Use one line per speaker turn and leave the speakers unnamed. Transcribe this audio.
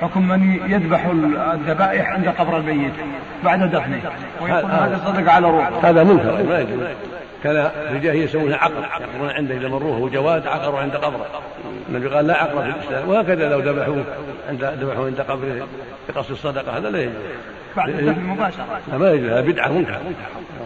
حكم من يذبح الذبائح عند قبر الميت بعد دفنه ويقول هذا صدق على روحه
هذا منكر ما يجوز كان في الجاهليه يسمونه عقر يقبرون عنده اذا مروه وهو جواد عقروا عند قبره النبي قال لا عقر في الاسلام وهكذا لو ذبحوه عند ذبحوه عند قبره بقصد الصدقه هذا لا يجوز
بعد الدفن مباشره
لا ما يجوز هذا بدعه منكر